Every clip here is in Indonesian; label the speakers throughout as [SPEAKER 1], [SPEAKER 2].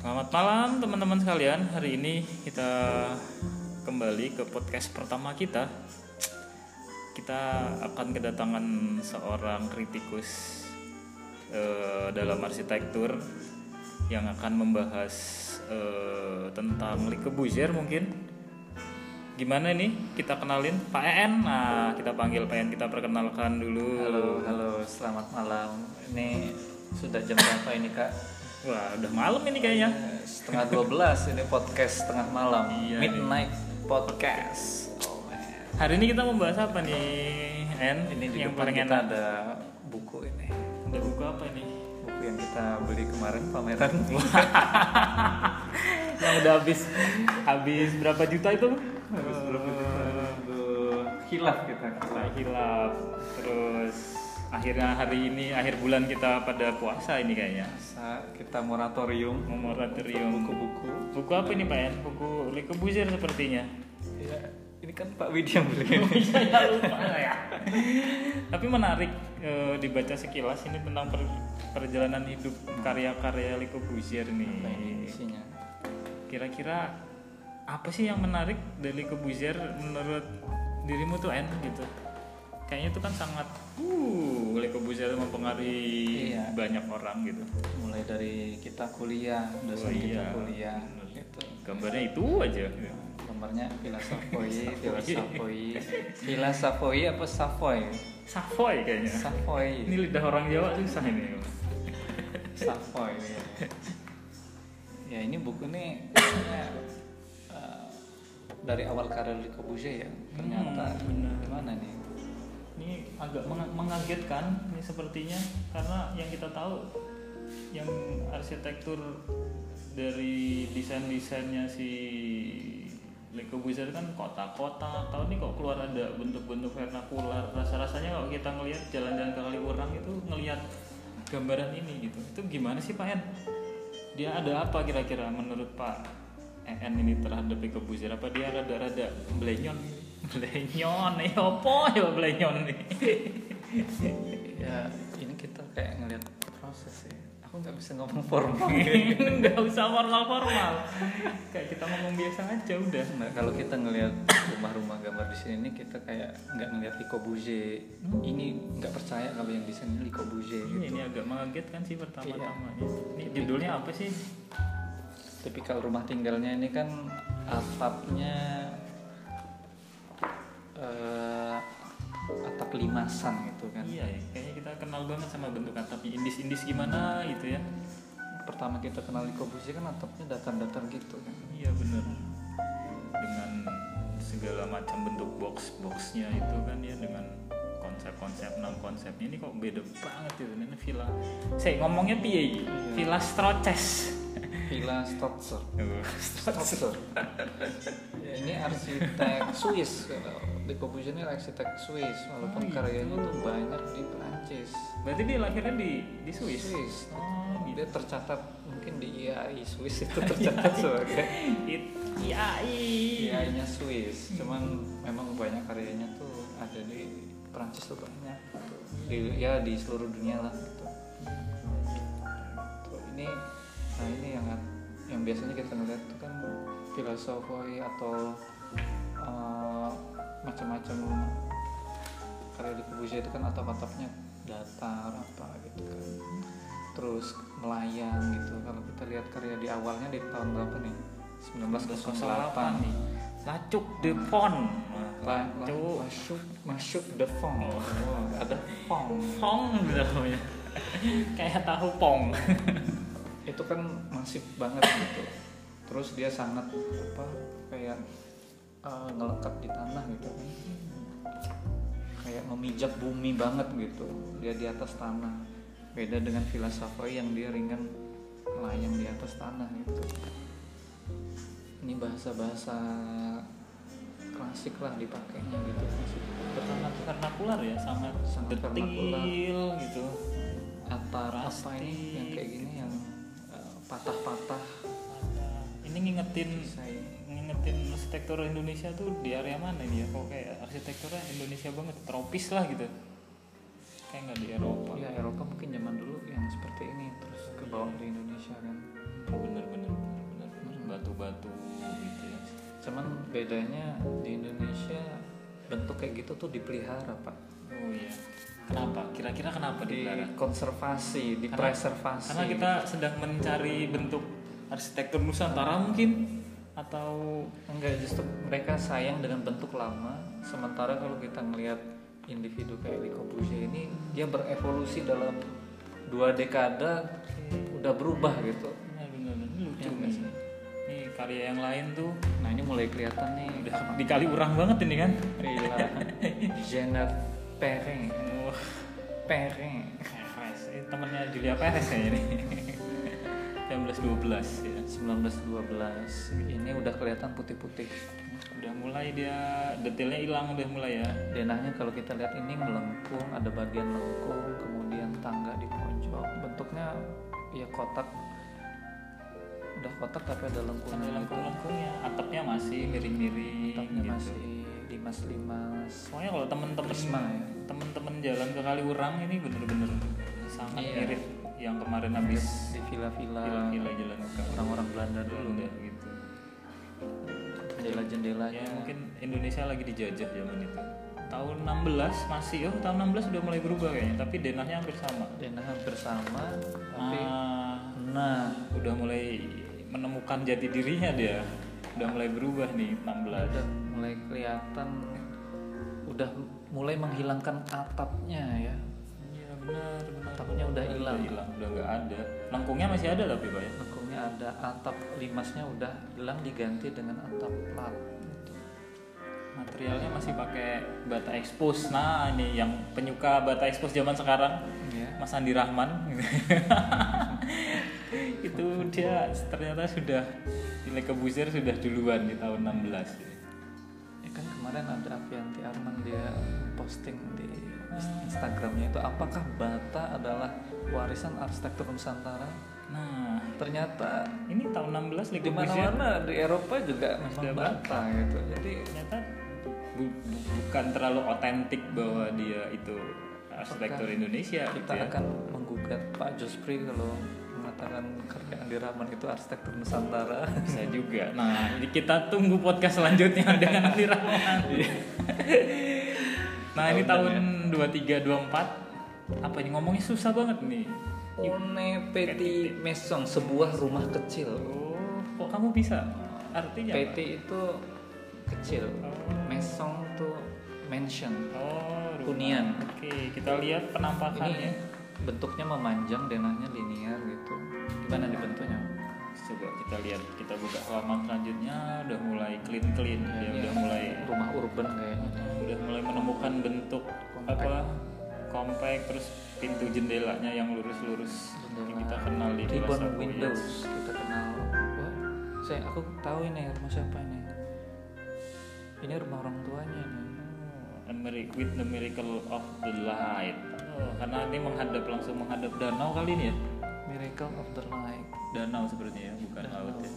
[SPEAKER 1] Selamat malam teman-teman sekalian. Hari ini kita kembali ke podcast pertama kita. Kita akan kedatangan seorang kritikus eh, dalam arsitektur yang akan membahas eh, tentang Le Corbusier mungkin. Gimana nih? Kita kenalin Pak En. Nah, kita panggil Pak En, kita perkenalkan dulu.
[SPEAKER 2] Halo, halo, selamat malam. Ini sudah jam berapa ini kak?
[SPEAKER 1] Wah, udah malam ini kayaknya.
[SPEAKER 2] Eh, Setengah 12 ini podcast setengah malam.
[SPEAKER 1] Iya,
[SPEAKER 2] Midnight podcast. Oh, man.
[SPEAKER 1] Hari ini kita membahas apa nih, En?
[SPEAKER 2] ini di
[SPEAKER 1] yang
[SPEAKER 2] depan
[SPEAKER 1] paling
[SPEAKER 2] kita
[SPEAKER 1] enak.
[SPEAKER 2] ada buku ini.
[SPEAKER 1] Ada buku apa ini?
[SPEAKER 2] Buku yang kita beli kemarin pameran.
[SPEAKER 1] yang udah habis habis berapa juta itu?
[SPEAKER 2] Habis berapa juta? Aduh, Hilaf kita.
[SPEAKER 1] Kita hilaf. Terus akhirnya hari ini akhir bulan kita pada puasa ini kayaknya.
[SPEAKER 2] Sa- Kita moratorium
[SPEAKER 1] Moratorium.
[SPEAKER 2] buku-buku.
[SPEAKER 1] Buku apa ini Pak En? Buku Le Corbusier sepertinya.
[SPEAKER 2] Ya, ini kan Pak Widya yang beli.
[SPEAKER 1] Saya lupa ya. Tapi menarik eh, dibaca sekilas ini tentang per- perjalanan hidup karya-karya Le Corbusier
[SPEAKER 2] Apa
[SPEAKER 1] nih.
[SPEAKER 2] ini isinya?
[SPEAKER 1] kira-kira apa sih yang menarik dari Corbusier menurut dirimu tuh En gitu kayaknya itu kan sangat uh Le Corbusier itu mempengaruhi
[SPEAKER 2] Iya.
[SPEAKER 1] banyak orang gitu
[SPEAKER 2] Mulai dari kita kuliah, dosen
[SPEAKER 1] Oh,
[SPEAKER 2] kita
[SPEAKER 1] iya.
[SPEAKER 2] kuliah.
[SPEAKER 1] Bener.
[SPEAKER 2] Gitu.
[SPEAKER 1] gambarnya itu aja gitu.
[SPEAKER 2] gambarnya filasafoi filasafoi filasafoi apa safoi
[SPEAKER 1] Savoy kayaknya ini
[SPEAKER 2] safoi
[SPEAKER 1] lidah orang Jawa susah ini
[SPEAKER 2] safoi ya. ya ini buku ini kayaknya, eh, dari awal karir di Corbusier ya ternyata
[SPEAKER 1] Hmm, benar.
[SPEAKER 2] gimana nih
[SPEAKER 1] ini agak meng- mengagetkan ini sepertinya karena yang kita tahu yang arsitektur dari desain desainnya si Le Corbusier kan kotak-kotak tahun ini kok keluar ada bentuk-bentuk vernakular rasa-rasanya kalau kita ngelihat jalan-jalan ke kali orang itu ngelihat gambaran ini gitu itu gimana sih Pak En? dia ada apa kira-kira menurut Pak En ini terhadap Le Corbusier apa dia rada-rada blenyon blenyon ya apa ya blenyon nih
[SPEAKER 2] ya ini kita kayak ngelihat proses ya aku nggak bisa ngomong formal
[SPEAKER 1] nggak usah formal-formal kayak kita ngomong biasa aja udah
[SPEAKER 2] Nah, kalau kita ngelihat rumah-rumah gambar di sini ini kita kayak nggak ngelihat Le Corbusier ini nggak percaya kalau yang desain ini Le Corbusier gitu.
[SPEAKER 1] Iya, ini, ini agak mengagetkan sih pertama-tama
[SPEAKER 2] Iya.
[SPEAKER 1] ini judulnya apa sih
[SPEAKER 2] tipikal rumah tinggalnya ini kan atapnya eh, atap limasan gitu kan
[SPEAKER 1] iya ya kayaknya kita kenal banget sama bentuk atapnya indis-indis gimana gitu ya
[SPEAKER 2] pertama kita kenal di Corbusier kan atapnya datar-datar gitu kan
[SPEAKER 1] iya bener dengan segala macam bentuk box-boxnya itu kan ya dengan konsep-konsep enam konsepnya ini kok beda banget gitu ini villa saya ngomongnya piye villa Stroces
[SPEAKER 2] Villa Stotzer Stotzer Ya, ini arsitek Swiss kalau di Corbusier ini arsitek Swiss
[SPEAKER 1] Oh,
[SPEAKER 2] walaupun
[SPEAKER 1] gitu.
[SPEAKER 2] karyanya itu banyak di Perancis
[SPEAKER 1] berarti dia lahirnya di di Swiss
[SPEAKER 2] Swiss
[SPEAKER 1] oh gitu
[SPEAKER 2] dia tercatat mungkin di IAI Swiss itu
[SPEAKER 1] Iya.
[SPEAKER 2] tercatat sebagai
[SPEAKER 1] It- IAI
[SPEAKER 2] AI-nya Iya, Swiss, cuman memang banyak karyanya tuh ada di Perancis tuh banyak. Di, ya di seluruh dunia lah gitu. Tuh, ini nah ini yang yang biasanya kita ngeliat tuh kan filosofi atau eh, macam-macam karya di Corbusier itu kan atap-atapnya datar apa gitu kan terus melayang gitu kalau kita lihat karya di awalnya di tahun berapa nih 1908 nih
[SPEAKER 1] Lacuk Depon
[SPEAKER 2] La, la,
[SPEAKER 1] Cuk.
[SPEAKER 2] masuk masuk the phone
[SPEAKER 1] Oh.
[SPEAKER 2] ada phone
[SPEAKER 1] Pong namanya kayak tahu pong
[SPEAKER 2] itu kan masif banget gitu terus dia sangat apa kayak eh, ngelekat di tanah gitu kan kayak memijak bumi banget gitu dia di atas tanah beda dengan filsafat yang dia ringan melayang di atas tanah gitu ini bahasa-bahasa klasik lah dipakainya gitu masih
[SPEAKER 1] sangat vernakular ya sangat,
[SPEAKER 2] Sangat
[SPEAKER 1] detil
[SPEAKER 2] vernakular.
[SPEAKER 1] gitu
[SPEAKER 2] antara apa
[SPEAKER 1] Plastik.
[SPEAKER 2] ini yang kayak gini yang eh, patah-patah
[SPEAKER 1] ini ngingetin
[SPEAKER 2] saya
[SPEAKER 1] ngingetin arsitektur Indonesia tuh di area mana ini ya kok kayak arsitekturnya Indonesia banget tropis lah gitu kayak nggak di Eropa
[SPEAKER 2] oh Iya.
[SPEAKER 1] Iya.
[SPEAKER 2] ya Eropa mungkin zaman dulu yang seperti ini terus ke bawah di Indonesia kan
[SPEAKER 1] bener-bener batu-batu gitu ya
[SPEAKER 2] Cuman bedanya di Indonesia bentuk kayak gitu tuh dipelihara pak.
[SPEAKER 1] oh iya kenapa kira-kira kenapa di
[SPEAKER 2] Iya. Dikonservasi,
[SPEAKER 1] Oh, Karena-
[SPEAKER 2] dipreservasi.
[SPEAKER 1] karena kita sedang mencari bentuk arsitektur Nusantara mungkin atau
[SPEAKER 2] Enggak, justru mereka sayang dengan bentuk lama. Sementara kalau kita ngelihat individu kayak Le Corbusier ini, dia berevolusi dalam dua dekade udah berubah gitu.
[SPEAKER 1] nah, bener -bener. Ini lucu
[SPEAKER 2] Iya,
[SPEAKER 1] nih.
[SPEAKER 2] sih.
[SPEAKER 1] Nih, karya yang lain tuh
[SPEAKER 2] Nah ini mulai kelihatan nih udah
[SPEAKER 1] dikali urang banget ini kan
[SPEAKER 2] Rila Janet Perrin
[SPEAKER 1] Wah,
[SPEAKER 2] Perrin
[SPEAKER 1] Perez. Ini temennya Julia Perez kayaknya ini 1912 ya
[SPEAKER 2] 1912 ini udah kelihatan putih-putih
[SPEAKER 1] udah mulai dia detailnya hilang udah mulai ya
[SPEAKER 2] denahnya kalau kita lihat ini melengkung ada bagian lengkung kemudian tangga di pojok bentuknya ya kotak udah kotak tapi ada
[SPEAKER 1] sampai
[SPEAKER 2] lengkungnya
[SPEAKER 1] lengkung-lengkungnya atapnya masih miring-miring
[SPEAKER 2] kotaknya
[SPEAKER 1] gitu.
[SPEAKER 2] masih limas-limas
[SPEAKER 1] soalnya kalau temen-temen
[SPEAKER 2] prisma ya
[SPEAKER 1] temen-temen jalan ke Kaliurang ini bener-bener sangat
[SPEAKER 2] Iya.
[SPEAKER 1] mirip yang kemarin habis
[SPEAKER 2] di villa-villa
[SPEAKER 1] villa-villa jalan ke
[SPEAKER 2] orang-orang Belanda dulu ya.
[SPEAKER 1] Kaliurang gitu
[SPEAKER 2] jendela-jendelanya
[SPEAKER 1] ya mungkin Indonesia lagi dijajah zaman itu tahun 16 masih oh tahun 16 udah mulai berubah kayaknya tapi denahnya hampir sama
[SPEAKER 2] denah hampir sama tapi
[SPEAKER 1] Ah,
[SPEAKER 2] nah
[SPEAKER 1] udah mulai menemukan jati dirinya dia udah mulai berubah nih 16
[SPEAKER 2] udah mulai kelihatan udah mulai menghilangkan atapnya ya
[SPEAKER 1] iya benar benar
[SPEAKER 2] atapnya udah hilang
[SPEAKER 1] hilang udah nggak ada lengkungnya masih ada tapi pak ya
[SPEAKER 2] lengkungnya ada atap limasnya udah hilang diganti dengan atap plat gitu
[SPEAKER 1] materialnya masih pakai bata expose nah ini yang penyuka bata expose zaman sekarang
[SPEAKER 2] ya
[SPEAKER 1] Mas Andi Rahman itu dia ternyata sudah nilai kebusir sudah duluan di tahun 16 ya.
[SPEAKER 2] ya kan kemarin ada Avianti Arman dia posting di Instagramnya itu apakah bata adalah warisan arsitektur Nusantara
[SPEAKER 1] nah
[SPEAKER 2] ternyata
[SPEAKER 1] ini tahun 16 Le
[SPEAKER 2] di
[SPEAKER 1] Corbusier
[SPEAKER 2] mana-mana di Eropa juga
[SPEAKER 1] Ada
[SPEAKER 2] memang bata gitu jadi
[SPEAKER 1] ternyata bu- bu- bukan terlalu otentik bahwa dia itu arsitektur Indonesia gitu
[SPEAKER 2] kita
[SPEAKER 1] ya.
[SPEAKER 2] akan menggugat Pak Jospri kalau mengatakan karya Andi Rahman itu arsitektur Nusantara.
[SPEAKER 1] bisa juga. Nah, ini kita tunggu podcast selanjutnya dengan Andi Rahman. nah, ini
[SPEAKER 2] ya.
[SPEAKER 1] tahun 23 24 apa ini ngomongnya susah banget nih. Iya. gitu.
[SPEAKER 2] Une Petit Maison, sebuah rumah kecil.
[SPEAKER 1] Oh, kok kamu bisa? Artinya apa?
[SPEAKER 2] Petit itu kecil. Maison itu mansion.
[SPEAKER 1] Oh, rumah.
[SPEAKER 2] Hunian.
[SPEAKER 1] Oke, kita lihat penampakannya.
[SPEAKER 2] Ini bentuknya memanjang, denahnya linear gitu. Gimana nih bentuknya?
[SPEAKER 1] Coba kita lihat, kita buka halaman selanjutnya udah mulai clean clean, ya,
[SPEAKER 2] Iya.
[SPEAKER 1] udah mulai
[SPEAKER 2] Rumah urban kayaknya.
[SPEAKER 1] udah mulai menemukan bentuk apa compact terus pintu jendelanya yang lurus-lurus yang kita kenal di
[SPEAKER 2] Ribbon
[SPEAKER 1] Plaza Boya.
[SPEAKER 2] Windows kita kenal. Wah, saya aku tahu ini rumah siapa ini. Ini rumah orang tuanya nih.
[SPEAKER 1] Oh, and miri- with the miracle of the light. Oh, karena ini menghadap langsung menghadap danau kali ini ya.
[SPEAKER 2] Miracle of the Light.
[SPEAKER 1] Danau sepertinya ya, bukan laut ya.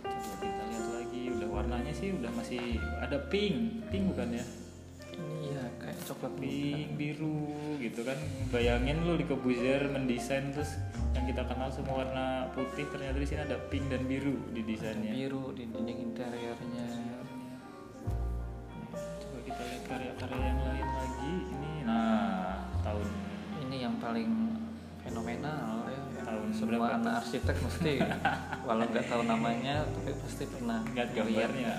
[SPEAKER 1] Coba kita lihat lagi, udah warnanya sih udah masih ada pink, pink bukan ya?
[SPEAKER 2] Iya, kayak coklat biru.
[SPEAKER 1] pink biru gitu kan bayangin lu di Kebuzer mendesain terus yang kita kenal semua warna putih ternyata di sini ada pink dan ya. biru di desainnya
[SPEAKER 2] Biru di dinding interiornya.
[SPEAKER 1] coba kita lihat karya-karya yang lain lagi ini nah tahun
[SPEAKER 2] Ini yang paling fenomenal ya. yang
[SPEAKER 1] Tahun
[SPEAKER 2] semua
[SPEAKER 1] berapa
[SPEAKER 2] anak arsitek mesti walau nggak tahu namanya tapi pasti pernah
[SPEAKER 1] lihat gambarnya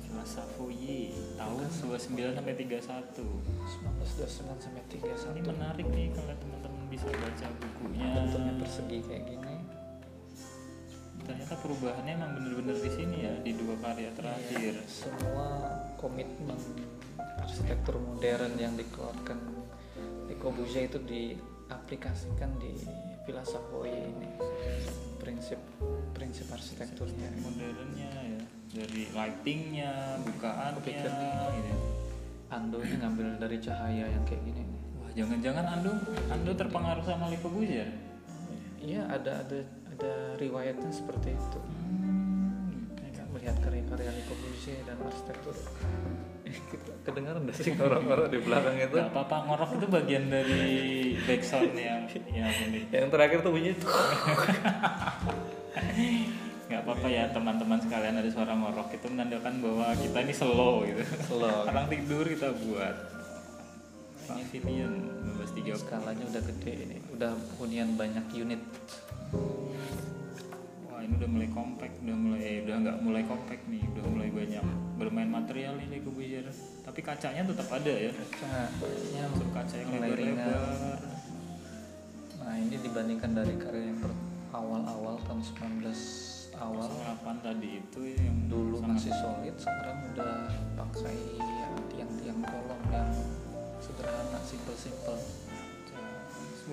[SPEAKER 1] Villa Savoye tahun 29 sampai 31
[SPEAKER 2] 1929 sampai
[SPEAKER 1] ini
[SPEAKER 2] 31
[SPEAKER 1] menarik nih kalau teman-teman bisa baca bukunya
[SPEAKER 2] bentuknya persegi kayak gini
[SPEAKER 1] ternyata perubahannya emang bener-bener di sini ya di dua karya terakhir
[SPEAKER 2] Iya. semua komitmen arsitektur modern yang dikeluarkan di Corbusier itu diaplikasikan di Villa Savoye ini prinsip prinsip arsitekturnya
[SPEAKER 1] modernnya ya dari lightingnya bukaannya
[SPEAKER 2] Kepikiran.
[SPEAKER 1] gitu.
[SPEAKER 2] Ando ini ngambil dari cahaya yang kayak gini nih.
[SPEAKER 1] wah jangan-jangan Ando Ando terpengaruh sama Le Corbusier
[SPEAKER 2] iya ada ada ada riwayatnya seperti itu
[SPEAKER 1] hmm, gitu.
[SPEAKER 2] Ya kan? melihat karya-karya Nico Buse dan arsitektur Eh, kita kedengaran gak sih orang-orang di belakang itu
[SPEAKER 1] Gak apa-apa, ngorok itu bagian dari backsound ya, yang yang ini.
[SPEAKER 2] yang terakhir tuh bunyi tuh
[SPEAKER 1] Gak apa-apa ya teman-teman sekalian ada suara ngorok itu menandakan bahwa kita ini slow gitu.
[SPEAKER 2] Slow.
[SPEAKER 1] Orang tidur kita buat. Ini Vinian 1230.
[SPEAKER 2] skalanya udah gede ini udah hunian banyak unit
[SPEAKER 1] Wah ini udah mulai compact, udah mulai eh, udah nggak mulai compact nih, udah mulai banyak bermain material ini Kubujer. Tapi kacanya tetap ada ya.
[SPEAKER 2] kacanya
[SPEAKER 1] Unsur kaca yang
[SPEAKER 2] mulai ringan.
[SPEAKER 1] lebar-lebar.
[SPEAKER 2] nah ini dibandingkan dari karya yang per- awal-awal tahun 19 awal
[SPEAKER 1] 8 tadi itu ya yang
[SPEAKER 2] dulu
[SPEAKER 1] sangat
[SPEAKER 2] masih solid sekarang udah pakai yang tiang-tiang kolom yang sederhana simple-simple
[SPEAKER 1] kaca.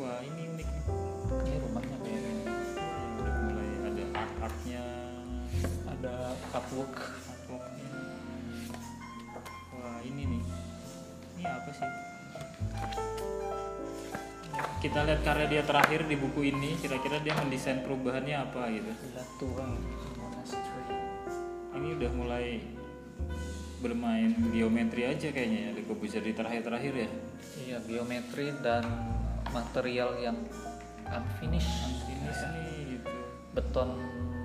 [SPEAKER 1] Wah ini unik nih.
[SPEAKER 2] ini rumahnya kayak gini
[SPEAKER 1] Ya, udah mulai ada art artnya,
[SPEAKER 2] ada artwork
[SPEAKER 1] artworknya. Wah ini nih, ini apa sih? Kita lihat karya dia terakhir di buku ini, kira-kira dia mendesain perubahannya apa gitu.
[SPEAKER 2] Gila tua monastery
[SPEAKER 1] ini udah mulai bermain geometri aja kayaknya ya Le Corbusier di terakhir-terakhir ya
[SPEAKER 2] iya geometri dan material yang unfinished
[SPEAKER 1] ini sih gitu
[SPEAKER 2] beton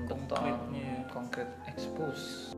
[SPEAKER 2] beton
[SPEAKER 1] Konkretnya ya.
[SPEAKER 2] konkret expose